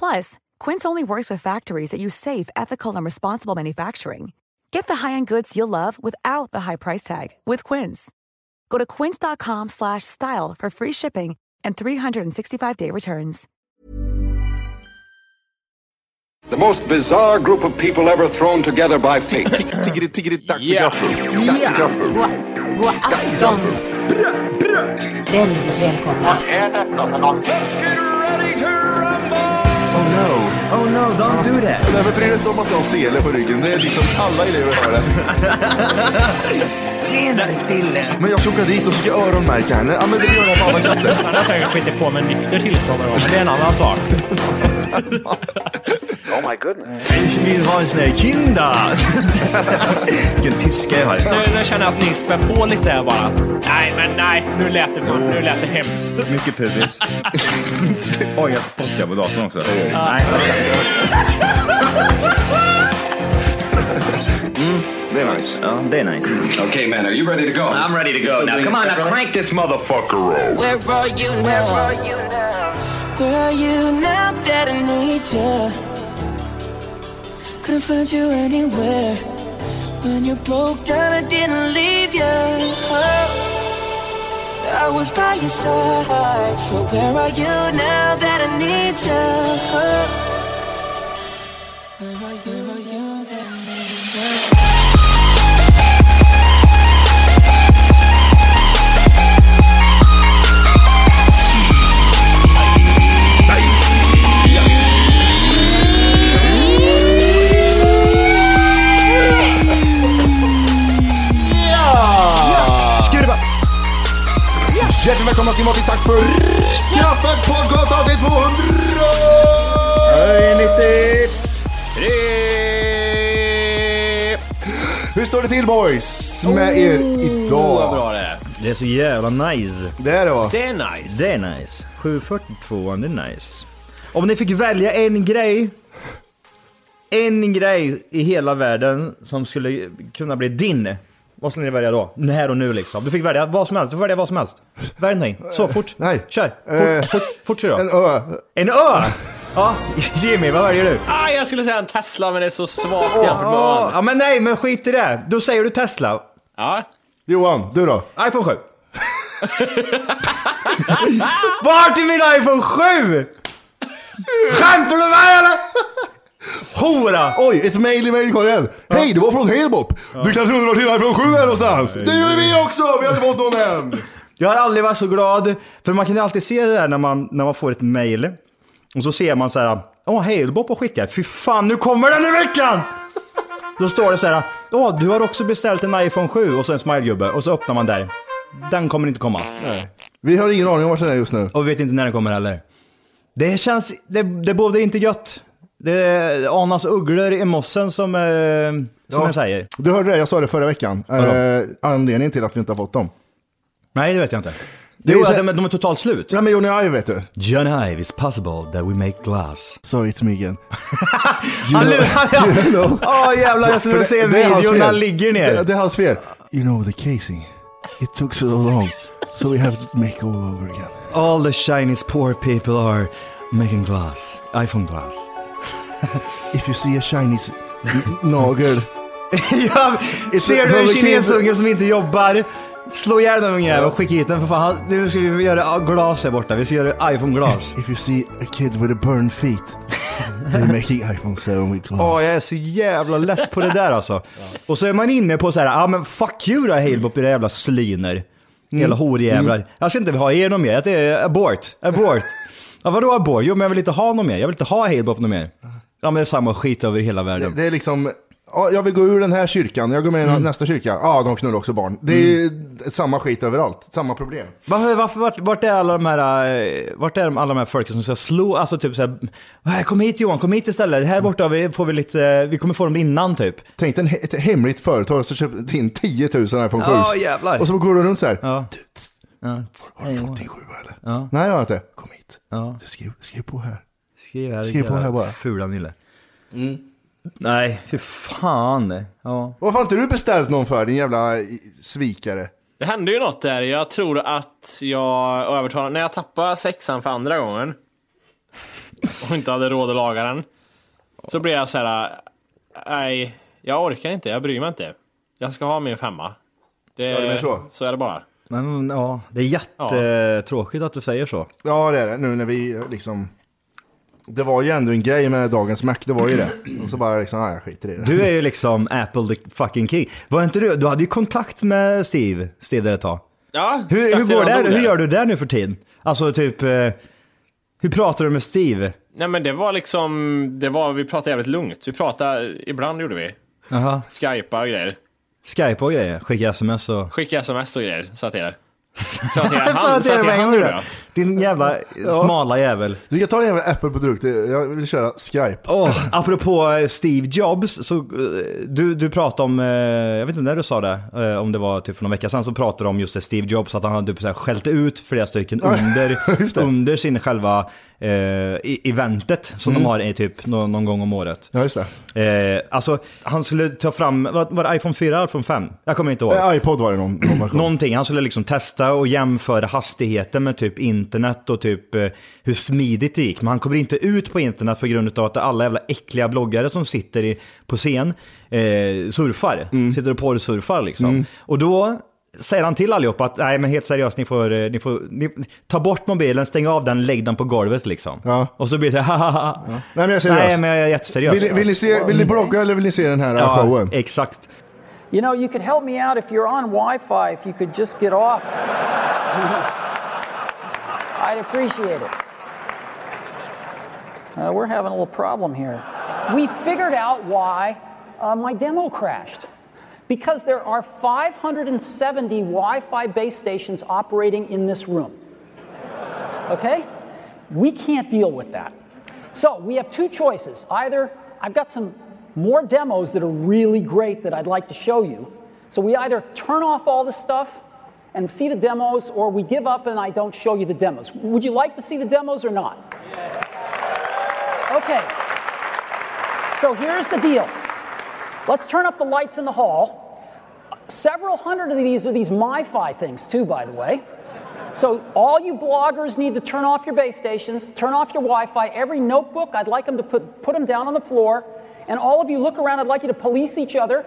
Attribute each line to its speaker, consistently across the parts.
Speaker 1: Plus, Quince only works with factories that use safe, ethical, and responsible manufacturing. Get the high-end goods you'll love without the high price tag with Quince. Go to quince.com/style slash style for free shipping and 365-day returns.
Speaker 2: The most bizarre group of people ever thrown together by fate.
Speaker 3: Tiggeri, tiggeri, dack för gaffel. Dack för gaffel.
Speaker 4: God afton! Väldigt välkomna.
Speaker 5: Oh no, oh no, don't do that.
Speaker 3: Nej, men bry dig inte om att du har sele på ryggen. Det är liksom alla elever har det.
Speaker 5: Senare killen.
Speaker 3: Men jag ska åka dit och ska öronmärka henne. Ja, men det gör jag på alla katter.
Speaker 6: Han har säkert skitit på med nykter tillstånd någon gång, men det är en annan sak.
Speaker 5: Ich vill ha en sån här kinda. Vilken tyska jag har.
Speaker 6: Nu, nu känner jag att ni spär på lite här bara. Nej, men nej. Nu lät det, för, nu lät det hemskt.
Speaker 7: Mycket pubis. Oj, jag spottar på datorn också. Nej,
Speaker 3: Det är nice.
Speaker 7: ja, det är nice.
Speaker 2: okay, man, are you ready to go? I'm ready to go. Now, come on, now crank this motherfucker up.
Speaker 8: Where are you now? Where are you now that I need you? Couldn't find you anywhere. When you broke down, I didn't leave you. Oh, I was by your side. So where are you now that I need you? Oh, where are you? Where are you that I need you?
Speaker 3: Skurba! Hjärtligt välkomna ska ni vara till Tack för gaffel podcast avsnitt 200!
Speaker 7: Hej, 90!
Speaker 3: Hur står det till boys
Speaker 2: Oh.
Speaker 3: med er idag?
Speaker 6: det
Speaker 7: Det är så jävla nice.
Speaker 3: Det är det va?
Speaker 6: Det är nice.
Speaker 7: Det är nice. 742, det är nice. Om ni fick välja en grej, en grej i hela världen som skulle kunna bli din. Vad skulle ni välja då? Nu Här och nu liksom. Du fick välja vad som helst. Du får välja vad som helst. Välj någonting. Så fort.
Speaker 3: Nej.
Speaker 7: Kör.
Speaker 3: Eh,
Speaker 7: Fort, fort, fort kör då.
Speaker 3: En ö.
Speaker 7: En ö! Ja, Jimmy, vad väljer du?
Speaker 6: Ah, jag skulle säga en Tesla, men det är så svagt jämfört med
Speaker 7: Ja,
Speaker 6: ön.
Speaker 7: ja, men nej, men skit i det. Då säger du Tesla.
Speaker 6: Ja.
Speaker 3: Johan, du då?
Speaker 7: iPhone 7. Vart är min iPhone 7? Skämtar du med mig eller? Hora!
Speaker 3: Oj, ett mail i mailkorgen. Hej, det var från Halebop. Du kanske undrar vart din iPhone 7 är någonstans? Det gör vi också! Vi har inte fått någon än.
Speaker 7: Jag har aldrig varit så glad. För man kan ju alltid se det där när man, när man får ett mail. Och så ser man så här. Åh, Halebop har skickat. Fy fan, nu kommer den i veckan! Då står det så här. Åh, du har också beställt en iPhone 7 och så en smilegubbe. Och så öppnar man där. Den kommer inte komma.
Speaker 3: Vi har ingen aning om vart den är just nu.
Speaker 7: Och vi vet inte när den kommer heller. Det känns, det, det bådar inte gött. Det anas ugglor i mossen som, eh, som
Speaker 3: Ja.
Speaker 7: jag säger.
Speaker 3: Du hörde det, jag sa det förra veckan. Eh, anledningen till att vi inte har fått dem.
Speaker 7: Nej, det vet jag inte.
Speaker 3: Det
Speaker 7: Det
Speaker 3: är
Speaker 7: jo,
Speaker 3: så-
Speaker 7: att de, de är totalt slut.
Speaker 3: Ja men Johnny Ive vet du.
Speaker 7: Johnny Ive is possible that we make glass.
Speaker 3: Sorry it's me again. You
Speaker 7: Han lurar-
Speaker 3: you know.
Speaker 7: Åh jävlar, jag
Speaker 3: För
Speaker 7: skulle se
Speaker 3: det är hans
Speaker 7: videon när han
Speaker 3: fel.
Speaker 7: ligger ner.
Speaker 3: Det, det är hans fel. You know the casing. It took so long. So we have to make all over again.
Speaker 7: All the Chinese poor people are making glass. iPhone glass.
Speaker 3: If you see a Chinese n- nagel.
Speaker 7: ja, ser du en
Speaker 3: Public
Speaker 7: kinesunge som inte jobbar, slå ihjäl den ungjäveln och skicka hit den för fan. Han- Nu ska vi göra glas där borta. Vi ska göra iPhone-glas.
Speaker 3: If you see a kid with a burned feet. They're making iPhone 7 with glass.
Speaker 7: Ja, jag är så jävla less på det där alltså. Och så är man inne på så här, ja ah, men fuck you då Halebop, era jävla Mm. slyner. Hela horjävlar. Jag ska inte ha er någon mer, det är abort, abort. Ja, vadå abborre? Jo, men jag vill inte ha något mer. Jag vill inte ha Halebop något mer. Ja, men det är samma skit över hela världen.
Speaker 3: Det är liksom, ja, jag vill gå ur den här kyrkan, jag går med i nästa kyrka. Ja, de knullar också barn. Det är ju samma skit överallt, samma problem.
Speaker 7: Varför, varför, vart, vart är alla de här, eh, vart är de, alla de här folken som ska slå, alltså typ såhär, "Här, kom hit Johan, kom hit istället, här borta vi, får vi lite, eh, vi kommer få dem innan typ.
Speaker 3: Tänk dig en he- ett hemligt företag som köpt in 10 000 iPhone 7
Speaker 7: Ja, jävlar.
Speaker 3: Och så går de runt så här.
Speaker 7: Ja.
Speaker 3: Du, tss,
Speaker 7: Ja,
Speaker 3: har du fått din sjua eller? Nej, det har jag inte. Kom hit. Du, skriv, skriv på här.
Speaker 7: skriv här,
Speaker 3: Skriv på
Speaker 7: jävla
Speaker 3: här bara.
Speaker 7: Fula Nille.
Speaker 6: Mm.
Speaker 7: Nej, fy fan. Ja.
Speaker 3: Varför har inte du beställt någon för din jävla i- svikare?
Speaker 6: Det hände ju något där. Jag tror att jag övertalade... När jag tappade sexan för andra gången och inte hade råd att laga den. Så blev jag så här. Nej, jag orkar inte. Jag bryr mig inte. Jag ska ha min femma. Det,
Speaker 3: Ja, det blir så.
Speaker 6: är det bara.
Speaker 7: Men ja, det är jättetråkigt att du säger så.
Speaker 3: Ja, det är det. Nu när vi liksom... Det var ju ändå en grej med dagens Mac, det var ju det. Och så bara liksom, nej, jag skiter i det.
Speaker 7: Du är ju liksom Apple the fucking king. Var inte du, du hade ju kontakt med Steve, Steve där ett tag.
Speaker 6: Ja,
Speaker 7: Hur,
Speaker 6: strax
Speaker 7: hur går
Speaker 6: innan dog
Speaker 7: det? Hur
Speaker 6: där.
Speaker 7: gör du det nu för tiden? Alltså typ, eh, hur pratar du med Steve?
Speaker 6: Nej men det var liksom, det var, vi pratade jävligt lugnt. Vi pratade, ibland gjorde vi.
Speaker 7: Aha.
Speaker 6: Skypa och grejer.
Speaker 7: Skype och grejer, skicka sms och...
Speaker 6: Skicka sms och grejer, sa jag till er. Sa jag till er, han,
Speaker 7: Sa
Speaker 6: sa jag
Speaker 7: till er
Speaker 6: till
Speaker 7: med
Speaker 6: er,
Speaker 7: en
Speaker 6: han
Speaker 7: gång
Speaker 6: gjorde
Speaker 7: då.
Speaker 6: jag.
Speaker 7: Din jävla smala jävel.
Speaker 3: Du kan ta din jävla Apple-produkt, jag vill köra Skype.
Speaker 7: Åh, apropå eh, Steve Jobs, så eh, du, du pratade om, eh, jag vet inte när du sa det, eh, om det var typ för någon vecka sedan, så pratade du om just det, Steve Jobs, att han hade typ så här skällt ut flera stycken under, under sin själva eh, i- eventet som de har i typ någon, någon gång om året.
Speaker 3: Ja, just det.
Speaker 7: Eh, alltså, han skulle ta fram, vad- var det iPhone 4 eller iPhone 5? Jag kommer inte ihåg.
Speaker 3: Nej, iPod var det någon, någon version.
Speaker 7: Någonting, han skulle liksom testa och jämföra hastigheten med typ internet och typ eh, hur smidigt det gick. Men han kommer inte ut på internet på grund av att alla jävla äckliga bloggare som sitter i, på scen eh, surfar.
Speaker 3: Mm.
Speaker 7: Sitter och porrsurfar liksom. Och då säger han till allihopa att nej men helt seriöst, ni får, eh, ni får ni, ta bort mobilen, stäng av den, lägg den på golvet liksom.
Speaker 3: Ja.
Speaker 7: Och så blir det så här, "Hahaha."
Speaker 3: Nej, men jag är seriös.
Speaker 7: Nej men jag är jätteseriös.
Speaker 3: Vill, vill, ni se, vill ni blogga eller vill ni se den här
Speaker 7: ja,
Speaker 3: showen?
Speaker 7: Exakt.
Speaker 9: You know, you could help me out if you're on Wi Fi, if you could just get off. I'd appreciate it. Uh, we're having a little problem here. We figured out why uh, my demo crashed. Because there are 570 Wi Fi base stations operating in this room. Okay? We can't deal with that. So we have two choices. Either I've got some more demos that are really great that I'd like to show you. So we either turn off all the stuff and see the demos, or we give up and I don't show you the demos. Would you like to see the demos or not? Okay. So here's the deal. Let's turn up the lights in the hall. Several hundred of these are these MiFi things, too, by the way. So all you bloggers need to turn off your base stations, turn off your Wi-Fi. Every notebook, I'd like them to put put them down on the floor. And all of you look around. I'd like you to police each other.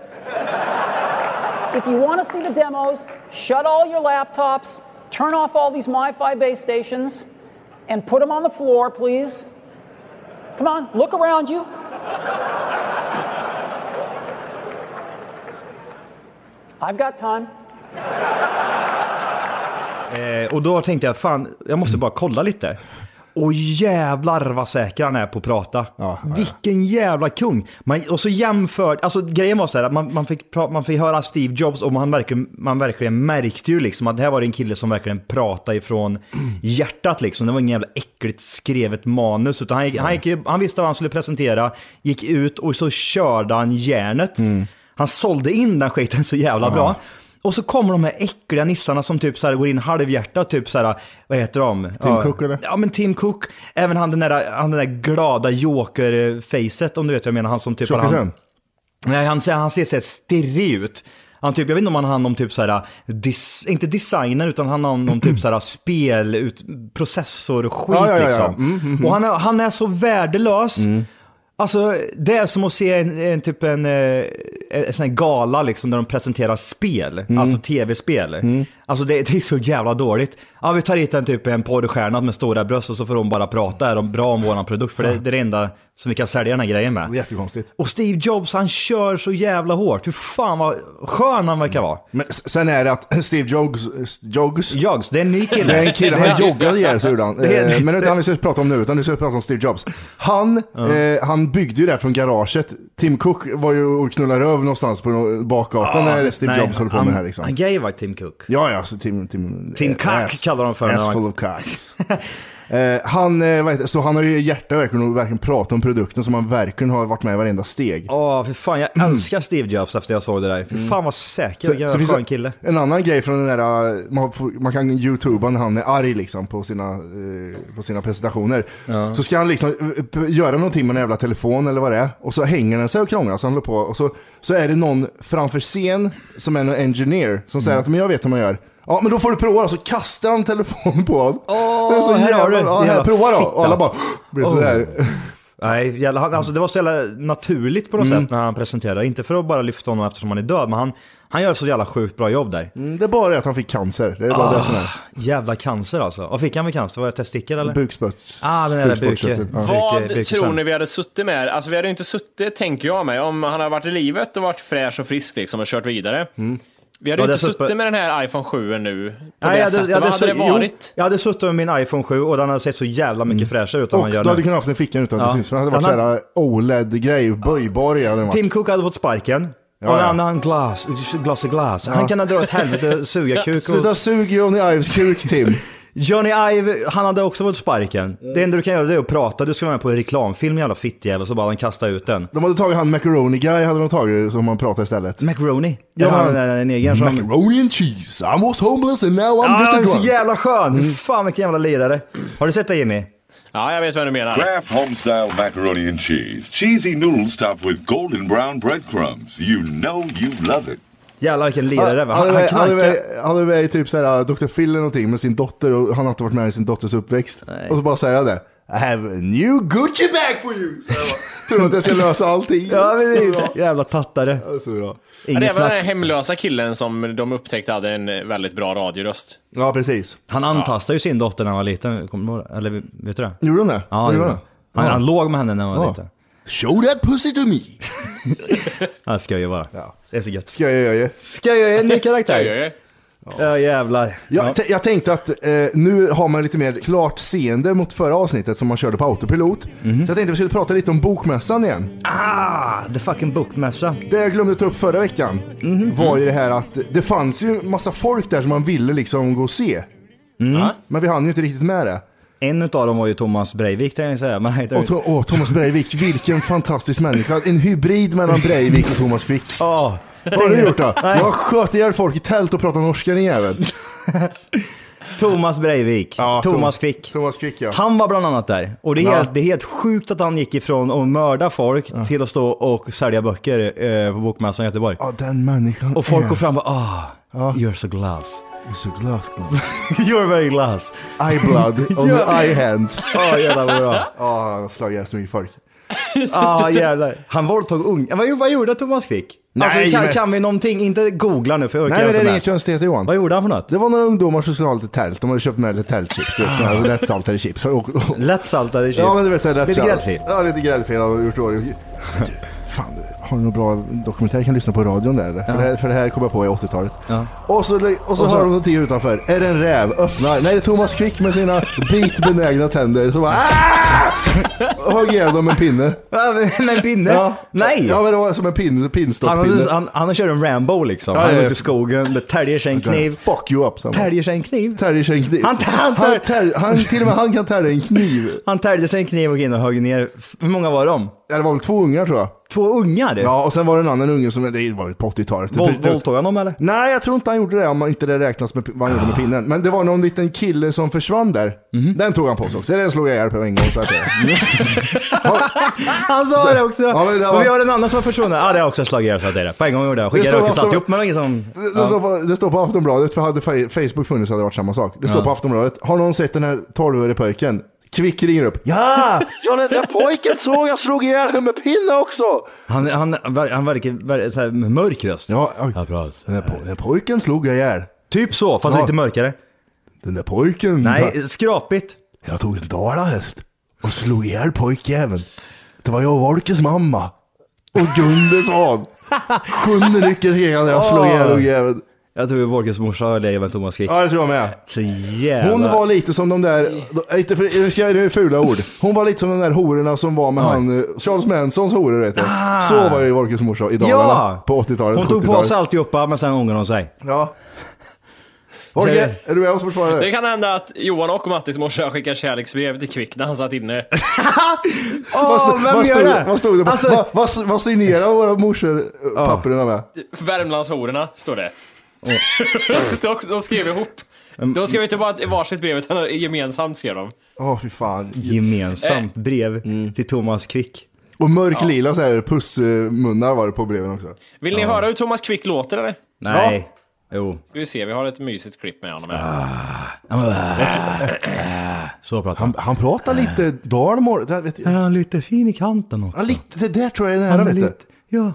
Speaker 9: if you want to see the demos, shut all your laptops, turn off all these MiFi base stations, and put them on the floor, please. Come on, look around you. I've got time.
Speaker 7: Eh, och då tänkte jag, fan, jag
Speaker 3: Mm.
Speaker 7: måste bara kolla lite. Och jävlar vad säker han är på att prata.
Speaker 3: Ja, ja, ja.
Speaker 7: Vilken jävla kung. Man, och så jämfört, alltså grejen var så här att man, man, fick pra, man fick höra Steve Jobs och man verkligen, man verkligen märkte ju liksom att det här var en kille som verkligen pratade ifrån hjärtat liksom. Det var ingen jävla äckligt skrevet manus utan han, gick, han, gick, ju- han visste vad han skulle presentera, gick ut och så körde han järnet.
Speaker 3: Mm.
Speaker 7: Han sålde in den skiten så jävla bra. Och så kommer de här äckliga nissarna som typ så här går in halvhjärtat, typ så här, vad heter de? Tim ja,
Speaker 3: Cook, eller?
Speaker 7: Ja men Tim Cook, även han den där, han den där glada joker-facet om du vet vad jag menar, han som typ...
Speaker 3: Tjockisen?
Speaker 7: Han, nej han, ser- han ser såhär stirrig ut. Han typ, jag vet inte om han har hand om typ såhär, dis, inte designer utan han har hand om typ såhär spel, ut, processor-skit
Speaker 3: Ja, ja, Mm, ja, ja.
Speaker 7: liksom. Och han, är- han är så värdelös. Alltså det är som att se en, en typ en, eh, en sån här gala liksom där de presenterar spel,
Speaker 3: Mm.
Speaker 7: alltså tv-spel. Alltså det, det är så jävla dåligt. Ja, vi tar hit en typ en porrstjärna med stora bröst och så får de bara prata är de bra om våran produkt, för det, det är det enda som vi kan sälja den här grejen med.
Speaker 3: Jättekonstigt.
Speaker 7: Och Steve Jobs han kör så jävla hårt. Hur fan vad skön han verkar vara.
Speaker 3: Men s- sen är det att Steve Jobs... Jobs?
Speaker 7: Jobs, det är en ny kille.
Speaker 3: Det är en kille, han joggade ihjäl sig gjorde han.
Speaker 7: Det är-
Speaker 3: Eh, Men det är inte han vi ska prata om nu, utan vi ska prata om Steve Jobs. Han, eh, han byggde ju det här från garaget. Tim Cook var ju och knullade röv någonstans på nå- bakgatan när Steve
Speaker 7: nej,
Speaker 3: Jobs höll på
Speaker 7: han-
Speaker 3: med det här liksom.
Speaker 7: Han gay var Tim Cook.
Speaker 3: Ja, ja, så Tim... Tim, eh,
Speaker 7: Tim Cock kallar de för
Speaker 3: Ass
Speaker 7: när
Speaker 3: full
Speaker 7: han-
Speaker 3: of cocks. Eh, han, eh, vad heter, det? så han har ju hjärta verkligen och verkligen pratat om produkten som han verkligen har varit med i varenda steg.
Speaker 7: Åh, för fan jag
Speaker 3: Mm.
Speaker 7: älskar Steve Jobs efter jag såg det där. För fan vad säker och jävla
Speaker 3: finns
Speaker 7: skön
Speaker 3: det
Speaker 7: kille.
Speaker 3: en annan grej från den där, eh, man, får- man kan youtuba när han är arg liksom på sina, eh, på sina presentationer. Så ska han liksom eh, p- göra någonting med en jävla telefon eller vad det är. Och så hänger den sig och krånglar så han håller på. Och så, så är det någon framför scen som är en engineer som
Speaker 7: Mm.
Speaker 3: säger att men jag vet hur man gör. Ja men då får du prova då. Så kastar han telefonen på honom.
Speaker 7: Åh,
Speaker 3: Det är så
Speaker 7: här har
Speaker 3: jävla-
Speaker 7: du.
Speaker 3: Ja, här,
Speaker 7: Jävla
Speaker 3: prova då.
Speaker 7: fitta.
Speaker 3: Och alla bara blir
Speaker 7: Åh.
Speaker 3: sådär.
Speaker 7: Nej, jävla, han, alltså det var så jävla naturligt på något
Speaker 3: Mm.
Speaker 7: sätt när han presenterade. Inte för att bara lyfta honom eftersom han är död, men han, han gör så jävla sjukt bra jobb där.
Speaker 3: Mm, Det är bara det att han fick cancer. Det är bara det som är.
Speaker 7: Jävla cancer alltså. Vad fick han för cancer? Var det testikel eller?
Speaker 3: Bukspottkörteln.
Speaker 7: Ah, den där buken.
Speaker 3: Ja.
Speaker 7: Buke-
Speaker 6: Vad
Speaker 7: buke
Speaker 6: tror
Speaker 7: sen.
Speaker 6: ni vi hade suttit med? Alltså vi hade ju inte suttit, tänker jag mig, om han hade varit i livet och varit fräsch och frisk liksom och kört vidare.
Speaker 7: Mm.
Speaker 6: Vi hade
Speaker 7: Ja,
Speaker 6: ju inte
Speaker 7: det är suppe-
Speaker 6: suttit med den här iPhone 7 nu. På
Speaker 7: Nej,
Speaker 6: det
Speaker 7: jag hade-
Speaker 6: sättet.
Speaker 7: jag
Speaker 6: Vad
Speaker 7: hade
Speaker 6: hade
Speaker 7: sutt-
Speaker 6: det
Speaker 7: jo,
Speaker 6: varit?
Speaker 7: Jag hade suttit med min iPhone 7 och den hade sett så jävla mycket fräschare ut än
Speaker 3: Mm. Och
Speaker 7: han gör
Speaker 3: då hade du
Speaker 7: nu.
Speaker 3: kunnat haft en fickan utan att
Speaker 7: Ja.
Speaker 3: det syns. För det hade varit eh,
Speaker 7: Han
Speaker 3: såhär OLED-grej, böjbar i E hade den varit.
Speaker 7: Tim Cook hade fått sparken.
Speaker 3: Ja,
Speaker 7: och
Speaker 3: ja.
Speaker 7: han har en glas, glas i glas. Han kan ha dra åt helvete, suga kuk och
Speaker 3: Sluta sug Johnny Ives kuk Tim.
Speaker 7: Johnny Ive, han hade också fått sparken. Det enda du kan göra det är att prata. Du ska vara med på en reklamfilm jävla fittjävel och så bara han kastar ut den.
Speaker 3: De hade tagit han Macaroni Guy hade de tagit som man pratade istället.
Speaker 7: Macaroni.
Speaker 3: Ja,
Speaker 7: Ja, han
Speaker 3: men-
Speaker 7: är en egen som...
Speaker 3: Macaroni and cheese, I was homeless and now I'm
Speaker 7: Ah,
Speaker 3: just
Speaker 7: han är
Speaker 3: Mm. a
Speaker 7: så
Speaker 3: drunk.
Speaker 7: jävla skön! Fan vilken jävla lirare. Har du sett det Jimmy?
Speaker 6: Ja, jag vet vad du menar.
Speaker 10: Kraft home style macaroni and cheese. Cheesy noodles topped with golden brown breadcrumbs. You know you love it.
Speaker 7: Jävlar vilken lirare.
Speaker 3: Han
Speaker 7: va?
Speaker 3: han
Speaker 7: Han,
Speaker 3: är
Speaker 7: han
Speaker 3: med- han är
Speaker 7: knarkar.
Speaker 3: med- han är med i typ såhär Dr. Phil eller någonting med sin dotter och han har inte varit med i sin dotters uppväxt. Och så bara säger han det. I have a new Gucci bag for you! Så jag bara, Tror du att jag ska lösa allting?
Speaker 7: Ja precis.
Speaker 3: Ja,
Speaker 7: Jävla tattare.
Speaker 3: så bra.
Speaker 6: Ja, det
Speaker 7: Inget
Speaker 6: är väl den här
Speaker 7: snack.
Speaker 6: hemlösa killen som de upptäckte hade en väldigt bra radioröst.
Speaker 3: Ja, precis.
Speaker 7: Han antastade ju sin dotter när han var liten. Kommer du ihåg? Eller vet du det?
Speaker 3: Gjorde han det?
Speaker 7: Ja,
Speaker 3: Gjorde
Speaker 7: gjorde han. Han, han låg med henne när han var
Speaker 3: Ja.
Speaker 7: liten.
Speaker 3: Show that pussy to me!
Speaker 7: Han skojar bara. Det är så gött.
Speaker 3: Ska jag göra ju.
Speaker 7: Skojar är en ny
Speaker 6: Skojar
Speaker 7: karaktär.
Speaker 6: ju.
Speaker 7: Ja jävlar.
Speaker 3: Jag, t- jag tänkte att eh, nu har man lite mer klart seende mot förra avsnittet som man körde på autopilot.
Speaker 7: Mhm.
Speaker 3: Så jag tänkte vi skulle prata lite om bokmässan igen.
Speaker 7: Ah, the fucking bokmässa.
Speaker 3: Det jag glömde ta upp förra veckan
Speaker 7: Mhm.
Speaker 3: var ju det här att det fanns ju massa folk där som man ville liksom gå och se.
Speaker 7: Mhm.
Speaker 6: Ja.
Speaker 3: Men vi hann ju inte riktigt med det.
Speaker 7: En utav dem var ju Thomas Breivik tänkte jag säga. Men han heter
Speaker 3: Och to- åh, Thomas Breivik, vilken fantastisk människa. En hybrid mellan Breivik och Thomas Quick.
Speaker 7: Ja.
Speaker 3: Vad har du gjort då? Jag sköt ihjäl folk i tält och pratade norska din jävel.
Speaker 7: Thomas Breivik. Thomas
Speaker 3: Tom-
Speaker 7: Quick.
Speaker 3: Thomas Quick ja.
Speaker 7: Han var bland annat där. Och det är,
Speaker 3: Ja.
Speaker 7: helt, det är helt sjukt att han gick ifrån att mörda folk till att stå och sälja böcker eh, på Bokmässan i Göteborg.
Speaker 3: Ja, den människan
Speaker 7: Och folk
Speaker 3: är-
Speaker 7: går fram och bara ah, you're so glass.
Speaker 3: You're so glass.
Speaker 7: You're very glass.
Speaker 3: Eye blood on
Speaker 7: Ja.
Speaker 3: the eye hands.
Speaker 7: Ja jävlar vad bra.
Speaker 3: Ja, han har slagit ihjäl så mycket folk. Typ-
Speaker 7: Ah, jävlar. Han våldtog unga. Vad, gjorde- vad gjorde Thomas Quick?
Speaker 3: Nej,
Speaker 7: alltså, kan,
Speaker 3: men-
Speaker 7: kan vi någonting? Inte googla nu för jag orkar
Speaker 3: Nej, men det
Speaker 7: inte
Speaker 3: är
Speaker 7: med.
Speaker 3: inget konstigheter Johan.
Speaker 7: Vad gjorde han för något?
Speaker 3: Det var några ungdomar som skulle ha lite tält. De hade köpt med lite tältchips. Du vet, såna här Lättsaltade chips. Och- och-
Speaker 7: Lättsaltade chips.
Speaker 3: Ja, men du vet såhär
Speaker 7: Lite
Speaker 3: lättsaltade.
Speaker 7: gräddfil.
Speaker 3: Ja, lite gräddfil har de gjort då. Du, Fan, har du någon bra dokumentär jag kan lyssna på i radion där eller? För, det här, för det här kom jag på i 80-talet. Och, så, och, så hör de någonting utanför. Är det en räv? Öppnar. Nej, det är Thomas Quick med sina bitbenägna tänder. Så bara "Ah!" Och högg ihjäl dem med en pinne.
Speaker 7: Ja, men- Med en pinne? Nej!
Speaker 3: Ja, men det var som en pin,
Speaker 7: Han,
Speaker 3: pinstockpinne.
Speaker 7: hade, han, han kör en Rambo liksom.
Speaker 3: Ja,
Speaker 7: han
Speaker 3: ja,
Speaker 7: är
Speaker 3: ja.
Speaker 7: ute i skogen, det täljer sig en kniv.
Speaker 3: Fuck you up. sa han.
Speaker 7: Täljer sig en kniv?
Speaker 3: Täljer sig en kniv.
Speaker 7: Han- han-
Speaker 3: han, tär, han Till och med han kan tälja en kniv.
Speaker 7: Han täljde sig en kniv och gick in och högg ner. f- Hur många var de?
Speaker 3: Ja, det var väl två ungar tror jag.
Speaker 7: Två ungar?
Speaker 3: Ja, och sen var det en annan unge som, det var ju på 80-talet.
Speaker 7: Våld, våldtog han dem eller?
Speaker 3: Nej, jag tror inte han gjorde det om inte det räknas med vad han gjorde med pinnen. Men det var någon liten kille som försvann där.
Speaker 7: Mhm.
Speaker 3: Den tog han på sig också. Den slog jag ihjäl på en gång. Så att det.
Speaker 7: Han sa det också!
Speaker 3: Ja, men det var-
Speaker 7: Och vi har en annan som har försvunnit. Ja, det har jag också slagit ihjäl för att det är det. På en gång gjorde jag.
Speaker 3: Det
Speaker 7: Skickade
Speaker 3: står
Speaker 7: rökelse
Speaker 3: ofta-
Speaker 7: alltihop, men det var ingen som...
Speaker 3: Det, det, står på, det står på Aftonbladet, för hade Fe- Facebook funnits hade det varit samma sak. Det står på Aftonbladet. Har någon sett den här 12-årige pojken? Kvick ringer upp.
Speaker 7: Ja!
Speaker 11: Ja, den där pojken såg jag slog ihjäl honom med pinne också.
Speaker 7: Han, han, ver- han verkar, ver- så här, med mörk röst.
Speaker 3: Ja,
Speaker 7: ja bra.
Speaker 3: Den där, po- den där pojken slog jag ihjäl.
Speaker 7: Typ så, fast
Speaker 3: Ja.
Speaker 7: lite mörkare.
Speaker 3: Den där pojken.
Speaker 7: Nej, skrapigt.
Speaker 3: Jag tog en dalahäst och slog ihjäl pojkjäveln. Det var jag och Volkes mamma. Och Gunde son. Sjunde nyckelkekan när jag slog ihjäl ungjäveln.
Speaker 7: Jag tror Wolkes morsa har legat med Thomas Quick.
Speaker 3: Ja, det tror jag med.
Speaker 7: Så jävla...
Speaker 3: Hon var lite som de där, inte för, nu ska jag det är fula ord. Hon var lite som de där hororna som var med han, eh, Charles Mansons horor vet du. Så var ju Wolkes morsa i Dalarna
Speaker 7: Ah. Ja!
Speaker 3: på 80-talet,
Speaker 7: Hon tog på
Speaker 3: 70-talet.
Speaker 7: sig alltihopa, men sen ångrade hon sig.
Speaker 3: Ja. Volke, är du med oss fortfarande?
Speaker 6: Det kan hända att Johan och Mattis morsa skickar kärleksbrev till Kvick när han satt inne.
Speaker 3: Vad
Speaker 7: Åh,
Speaker 3: stod-
Speaker 7: vem
Speaker 3: vad
Speaker 7: gör
Speaker 3: stod-
Speaker 7: det?
Speaker 3: Vad stod det på?
Speaker 7: Alltså-
Speaker 3: Vad- vad- Vad signerade våra morsor eh, papperna med?
Speaker 6: Värmlandshororna, står det. de, de skrev ihop. De skrev inte bara ett varsitt brev, utan gemensamt skrev de.
Speaker 3: Åh fy fan.
Speaker 7: Gemensamt
Speaker 3: Eh.
Speaker 7: brev
Speaker 3: Mm.
Speaker 7: till Thomas Quick.
Speaker 3: Och mörklila så här pussmunnar var det på breven också.
Speaker 6: Vill ni höra hur Thomas Quick låter eller?
Speaker 7: Nej. Jo.
Speaker 6: Ska vi se, vi har ett mysigt klipp med honom här.
Speaker 7: Så pratar
Speaker 3: Han, han pratar lite dalmål. där vet jag.
Speaker 7: Är han lite fin i kanten också?
Speaker 3: Ja, lite, det där tror jag är nära vet du.
Speaker 7: Ja.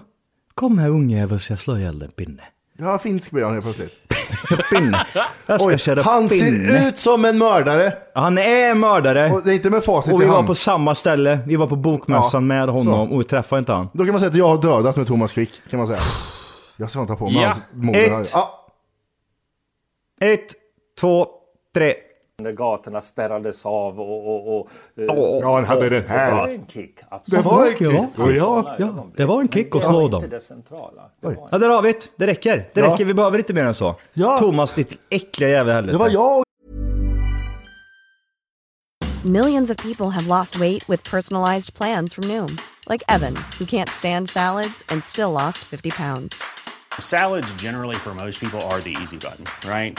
Speaker 7: Kom här ungjävel så jag slår ihjäl den pinne.
Speaker 3: Ja, finsk blir han helt plötsligt.
Speaker 7: Pinne. Jag ska
Speaker 3: Oj,
Speaker 7: köra
Speaker 3: han ser
Speaker 7: pinne.
Speaker 3: ut som en mördare.
Speaker 7: Han är mördare.
Speaker 3: Och det är inte med facit
Speaker 7: Och
Speaker 3: i
Speaker 7: vi var
Speaker 3: hand.
Speaker 7: på samma ställe. Vi var på bokmässan
Speaker 3: Ja,
Speaker 7: med honom och vi träffade inte han.
Speaker 3: Då kan man säga att jag har dödat med Thomas Quick, kan man säga. Jag ska inte ta på mig
Speaker 6: Ja.
Speaker 3: hans moder.
Speaker 7: Ett.
Speaker 3: Ja.
Speaker 7: Ett, två, tre.
Speaker 12: När gatorna spärrades av och... och, och eh,
Speaker 3: Ja, han hade den
Speaker 12: det var
Speaker 3: här.
Speaker 12: en kick,
Speaker 3: Det
Speaker 12: absolut.
Speaker 3: var en
Speaker 7: Ja,
Speaker 3: kick. Och jag-
Speaker 7: ja, det var en kick och slå
Speaker 12: Det var
Speaker 7: dem.
Speaker 12: inte det centrala.
Speaker 7: Ja, där har vi det. Det räcker. Det
Speaker 3: Ja.
Speaker 7: räcker. Vi behöver inte mer än så.
Speaker 3: Ja.
Speaker 7: Thomas, ditt äckliga jävla helvete.
Speaker 3: Det var jag och
Speaker 13: Millions of people have lost weight with personalized plans from Noom, like Evan, who can't stand salads and still lost 50 pounds.
Speaker 14: Salads, generally, for most people, are the easy button, right?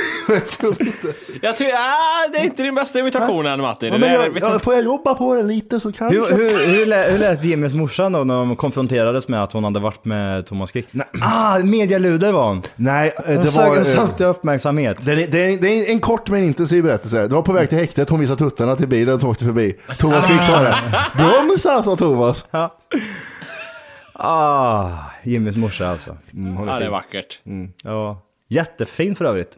Speaker 6: Jag tror, ah, det är inte din bästa imitation än Matti. Det
Speaker 3: Ja, men
Speaker 6: där,
Speaker 3: jag,
Speaker 6: vet
Speaker 3: jag,
Speaker 6: inte.
Speaker 3: får jag jobba på den lite så kanske?
Speaker 7: Hur, hur, hur, lät, hur lät Jimmys morsa då när de konfronterades med att hon hade varit med Thomas Quick? Ah, medialuder var hon.
Speaker 3: Nej, eh,
Speaker 7: Hon
Speaker 3: det var...
Speaker 7: sökte-
Speaker 3: eh,
Speaker 7: sökte uppmärksamhet.
Speaker 3: Det är, det, är, det är en kort men intensiv berättelse. Det var på väg till häktet, hon visade tuttarna till bilen som åkte förbi. Thomas Quick sa det. Bromsa, sa Thomas.
Speaker 7: Ah, Jimmys morsa alltså.
Speaker 6: Ja, det är vackert.
Speaker 7: Ja. Jättefin för övrigt.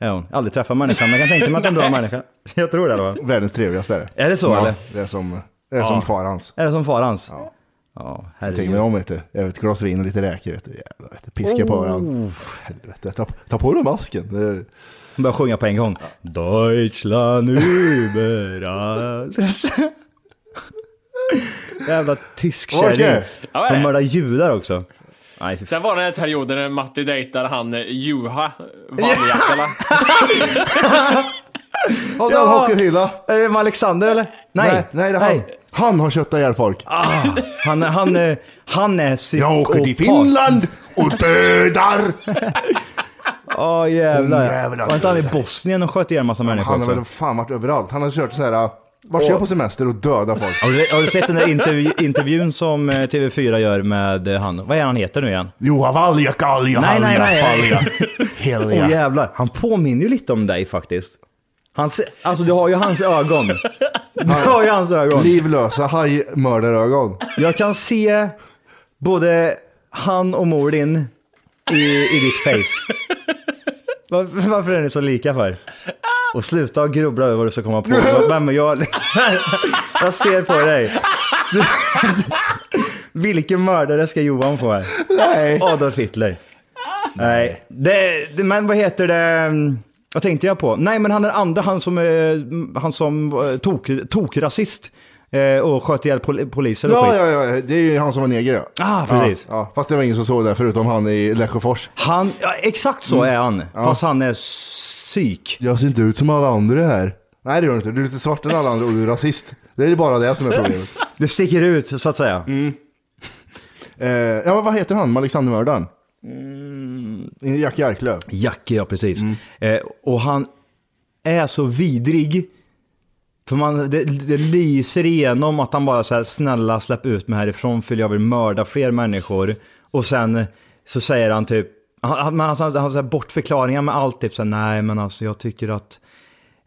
Speaker 7: Är hon. Aldrig träffat människan, men jag kan tänka mig att det är en bra människa. Jag tror det va?
Speaker 3: Världens trevligaste är det.
Speaker 7: Är det så,
Speaker 3: ja,
Speaker 7: eller?
Speaker 3: Det är som, det är som far hans.
Speaker 7: Är det som far hans? Ja. Ja,
Speaker 3: Tänk mig
Speaker 7: herregud.
Speaker 3: om inte. Jag vet, ett glas vin och lite räkor. Vet du. Jävlar, vet du. Piska på varandra. Helvete, ta, ta på dig masken. Det-
Speaker 7: Hon börjar sjunga på en gång. Deutschland über alles. Jävla tysk kärring.
Speaker 3: Okej.
Speaker 6: Ja, vad är
Speaker 7: Hon
Speaker 6: det?
Speaker 7: mördar judar också. Nej, fy
Speaker 6: Sen var det den här perioden när Matti dejtar han eh, Juha Valjakala.
Speaker 3: Ja, där har hockeyhylla.
Speaker 7: Är det med Alexander eller? Nej, Ah,
Speaker 3: Nej, nej, det är han. Han har köttat ihjäl folk.
Speaker 7: Han, han, eh, han är psykopat.
Speaker 3: Jag åker till Finland och dödar.
Speaker 7: Åh
Speaker 3: Åh,
Speaker 7: jävlar.
Speaker 3: jävlar.
Speaker 7: Var inte han i Bosnien och sköt ihjäl massa människor
Speaker 3: Han
Speaker 7: också?
Speaker 3: har väl fan varit överallt. Han har kört så här, vart ska jag på semester och döda folk?
Speaker 7: Har du, har du sett den där intervju, intervjun som eh, TV4 gör med eh, han? Vad är han heter nu igen?
Speaker 3: Johan Valja, Kalja,
Speaker 7: Nej, nej, nej. Åh
Speaker 3: Helja.
Speaker 7: jävlar, han påminner ju lite om dig faktiskt. Han ser, alltså du har ju hans ögon. Du har ju hans ögon.
Speaker 3: Livlösa hajmördarögon.
Speaker 7: Jag kan se både han och mor din i, i ditt face. Varför, varför är ni så lika för? Och sluta och grubbla över vad du ska komma på. Men men jag, jag ser på dig. Du, vilken mördare ska Johan få här?
Speaker 3: Nej.
Speaker 7: Adolf Hitler. Nej. Det, det, men vad heter det? Vad tänkte jag på? Nej, men han den andra, han som, eh, han som eh, tok, tokrasist eh, och sköt ihjäl pol poliser och
Speaker 3: Ja,
Speaker 7: skit.
Speaker 3: ja, ja, det är ju han som var neger ja.
Speaker 7: Ah, precis.
Speaker 3: Ja, ja. Fast det var ingen som såg det förutom han i Lesjöfors.
Speaker 7: Han, ja, exakt så
Speaker 3: Mm.
Speaker 7: är han.
Speaker 3: Ja.
Speaker 7: Fast han är psyk.
Speaker 3: Jag ser inte ut som alla andra här. Nej det gör du inte, du är lite svartare än alla andra och du är rasist. Det är bara det som är problemet.
Speaker 7: Det sticker ut så att säga.
Speaker 3: Mm. Eh, ja men vad heter han, Alexandermördaren?
Speaker 7: Mm.
Speaker 3: Jack Jarklöv.
Speaker 7: Jackie, ja precis.
Speaker 3: Mm.
Speaker 7: Eh, och han är så vidrig. För man, det, det lyser igenom att han bara så här, snälla släpp ut mig härifrån för jag vill mörda fler människor. Och sen så säger han typ, han, han, han, han har så här bortförklaringar med allt, typ så här, nej men alltså jag tycker att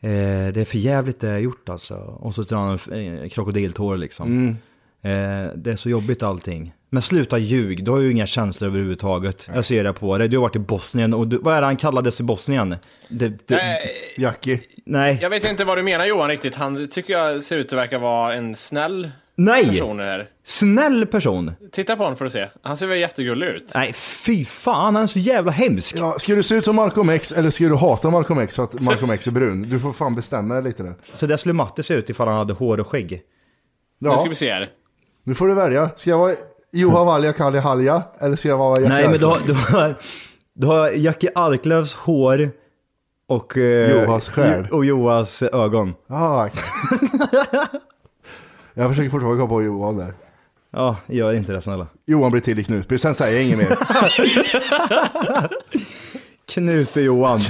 Speaker 7: eh, det är för jävligt det jag har gjort alltså. Och så drar han en eh, krokodiltår liksom.
Speaker 3: Mm.
Speaker 7: Eh, det är så jobbigt allting. Men sluta ljug, du har ju inga känslor överhuvudtaget. Jag ser det på dig. Du har varit i Bosnien och du, vad är det han kallades i Bosnien? Det, det,
Speaker 6: Nej.
Speaker 3: Jackie.
Speaker 7: Nej.
Speaker 6: Jag vet inte vad du menar Johan riktigt. Han tycker jag ser ut att verka vara en snäll
Speaker 7: Nej!
Speaker 6: person här.
Speaker 7: Snäll person.
Speaker 6: Titta på honom får du se. Han ser väl jättegullig ut.
Speaker 7: Nej, fy fan, han är så jävla hemsk.
Speaker 3: Ja, ska du se ut som Malcolm X eller ska du hata Malcolm X för att Malcolm X är brun? Du får fan bestämma dig lite där.
Speaker 7: Så där skulle Matte se ut ifall han hade hår och skägg.
Speaker 3: Ja.
Speaker 6: Nu ska vi se här.
Speaker 3: Nu får du välja. Ska jag vara Juha Valja Kali Halja eller ska jag vara Jack
Speaker 7: Nej, men du har,
Speaker 3: Jarklöv?
Speaker 7: du har, du har Jackie Arklövs hår och... eh,
Speaker 3: Johas själ.
Speaker 7: Och Johas ögon.
Speaker 3: Ah, okej. jag försöker fortfarande komma på Johan där.
Speaker 7: Ja, gör inte det snälla.
Speaker 3: Johan blir till i Knutby, sen säger jag inget mer.
Speaker 7: Knutby-Johan.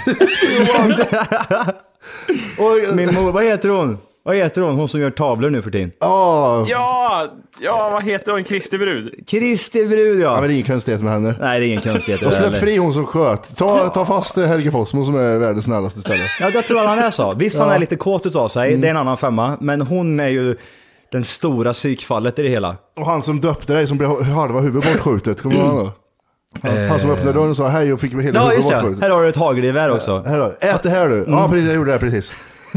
Speaker 3: Oj.
Speaker 7: Min mor, vad heter hon? Vad heter hon, hon som gör tavlor nu för tiden?
Speaker 3: Ja,
Speaker 6: Ja, ja vad heter hon? Kristi brud?
Speaker 7: Kristi brud ja.
Speaker 3: men det är ingen konstighet med henne.
Speaker 7: Nej, det är ingen konstighet.
Speaker 3: Och släpp
Speaker 7: heller.
Speaker 3: fri hon som sköt. Ta, ta fast eh, Helge Fossmo som är världens snällaste ställe.
Speaker 7: Ja, jag tror att han är så. Visst, han
Speaker 3: Ja.
Speaker 7: är lite kåt utav sig, det är en annan femma. Men hon är ju den stora psykfallet i det hela.
Speaker 3: Och han som döpte dig som blev halva huvudet bortskjutet, kommer du ihåg honom? Han, han som öppnade dörren och sa hej och fick hela
Speaker 7: Ja,
Speaker 3: huvudet
Speaker 7: just det.
Speaker 3: bortskjutet.
Speaker 7: Här har du ett hagelgevär också.
Speaker 3: Här då. Ät det här du. Ja, precis, jag gjorde det här precis.